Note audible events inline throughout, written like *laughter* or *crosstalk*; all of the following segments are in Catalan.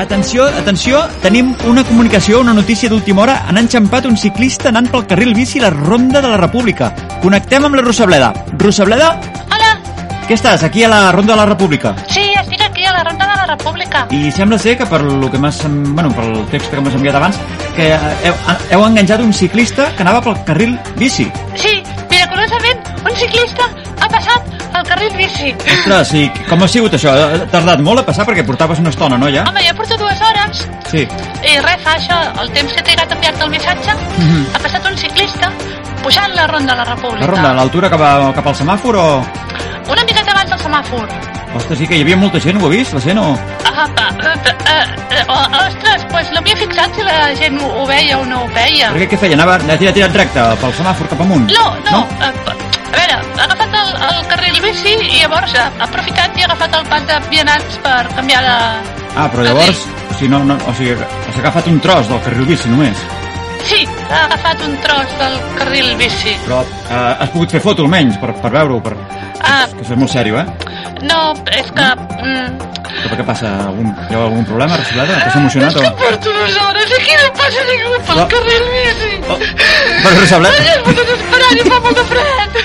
Atenció, atenció, tenim una comunicació, una notícia d'última hora. Han enxampat un ciclista anant pel carril bici a la Ronda de la República. Connectem amb la Rosableda. Rosableda, Hola, què estàs? Aquí a la Ronda de la República. sí, estic aquí a la Ronda de la República. I sembla ser que per lo que m'has... en- Bueno, pel text que m'has enviat abans, que heu, heu enganjat un ciclista que anava pel carril bici. Sí, miraculosament, un ciclista ha passat al carril *laughs* bici. Ostres, i com ha sigut això? Ha tardat molt a passar perquè portaves una estona, no, ja? Home, jo porto dues hores Sí. i res, fa això, el temps que he trigat a enviar-te el missatge, Mhm. ha passat un ciclista pujant la Ronda de la República. La ronda, a l'altura cap, a, cap al semàfor o...? Una miqueta abans del semàfor. Ostres, sí que hi havia molta gent, ho ha vist, la gent, o...? Apa, eh, eh, eh, oh, ostres, doncs no m'hi he fixat si la gent ho, ho veia o no ho veia. Perquè què feia? Anava a tirar, tirar recte pel semàfor cap amunt? No, no, eh, a veure, ha agafat el, el carril bici i llavors ha ha aprofitat i ha agafat el pas de vianants per canviar de... Ah, però llavors... O sigui, no, no, o sigui, s'ha agafat un tros del carril bici només. Sí, ha agafat un tros del carril bici. Però eh, has pogut fer foto almenys per, per veure-ho, per... Ah, que això és molt sèrio, eh? no, és que... Mm, Que per què passa? Algun, hi ha algun problema, Rosoleta? Estàs emocionat és o...? que porto dues hores i aquí no passa ningú pel No. carril bici. Oh, però Rosoleta... M'he fotut esperant i fa molt de fred.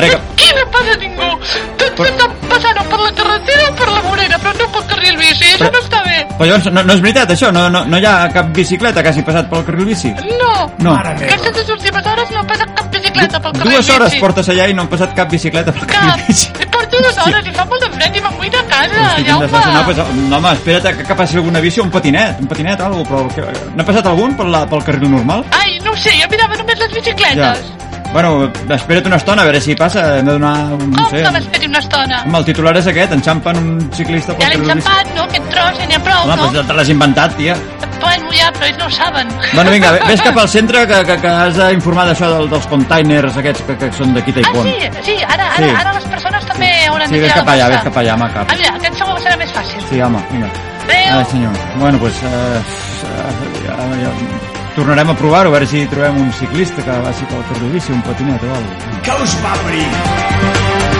Ara que... Aquí no passa ningú. Tots Però- estan passant o per la carretera o per la vorera, però no pel carril bici. Això Però- no està bé. Però llavors, no, no és veritat, això? No, no, no hi ha cap bicicleta que hagi passat pel carril bici? No. No. Aquestes dues últimes hores no passa cap bicicleta pel carrer Dues hores bici. portes allà i no han passat cap bicicleta pel carril Cap. bici. I porto dues hores i fa molt de fred i m'amoïna a casa, Hosti, quin Jaume. desastre. No, pues, no, home, espera't que, que passi alguna bici o un patinet, un patinet o alguna cosa, però que- n'ha passat algun per la, pel carril normal? Ai, no ho sé, jo mirava només les bicicletes. Bueno, espera't una estona, a veure si passa, hem de donar... un- No Com sé, que m'esperi una estona? home, el titular és aquest, enxampen un ciclista Ja pel l'hem carril bici. xampat, no? Aquest tros ja n'hi ha prou, Home, no? pues eh, ja te l'has inventat, tia. Bueno, ja, però ells no ho saben. Bueno, *laughs* vinga, ve- vés cap al centre que, que, que has d'informar d'això del, dels containers aquests que, que són d'aquí Ah, Taipon. sí, sí, ara, ara, Sí. ara les persones també hauran Sí, de vés tirar cap la allà, bossa. vés cap allà, home, cap. Ah, mira, aquest segur que serà més fàcil. Sí, home, vinga. Adéu. Ai, senyor. Bueno, doncs... Eh, eh, ja, ja, tornarem a provar-ho, a veure si trobem un ciclista que vagi pel carril bici, un patinet o alguna cosa. Ghost Battery.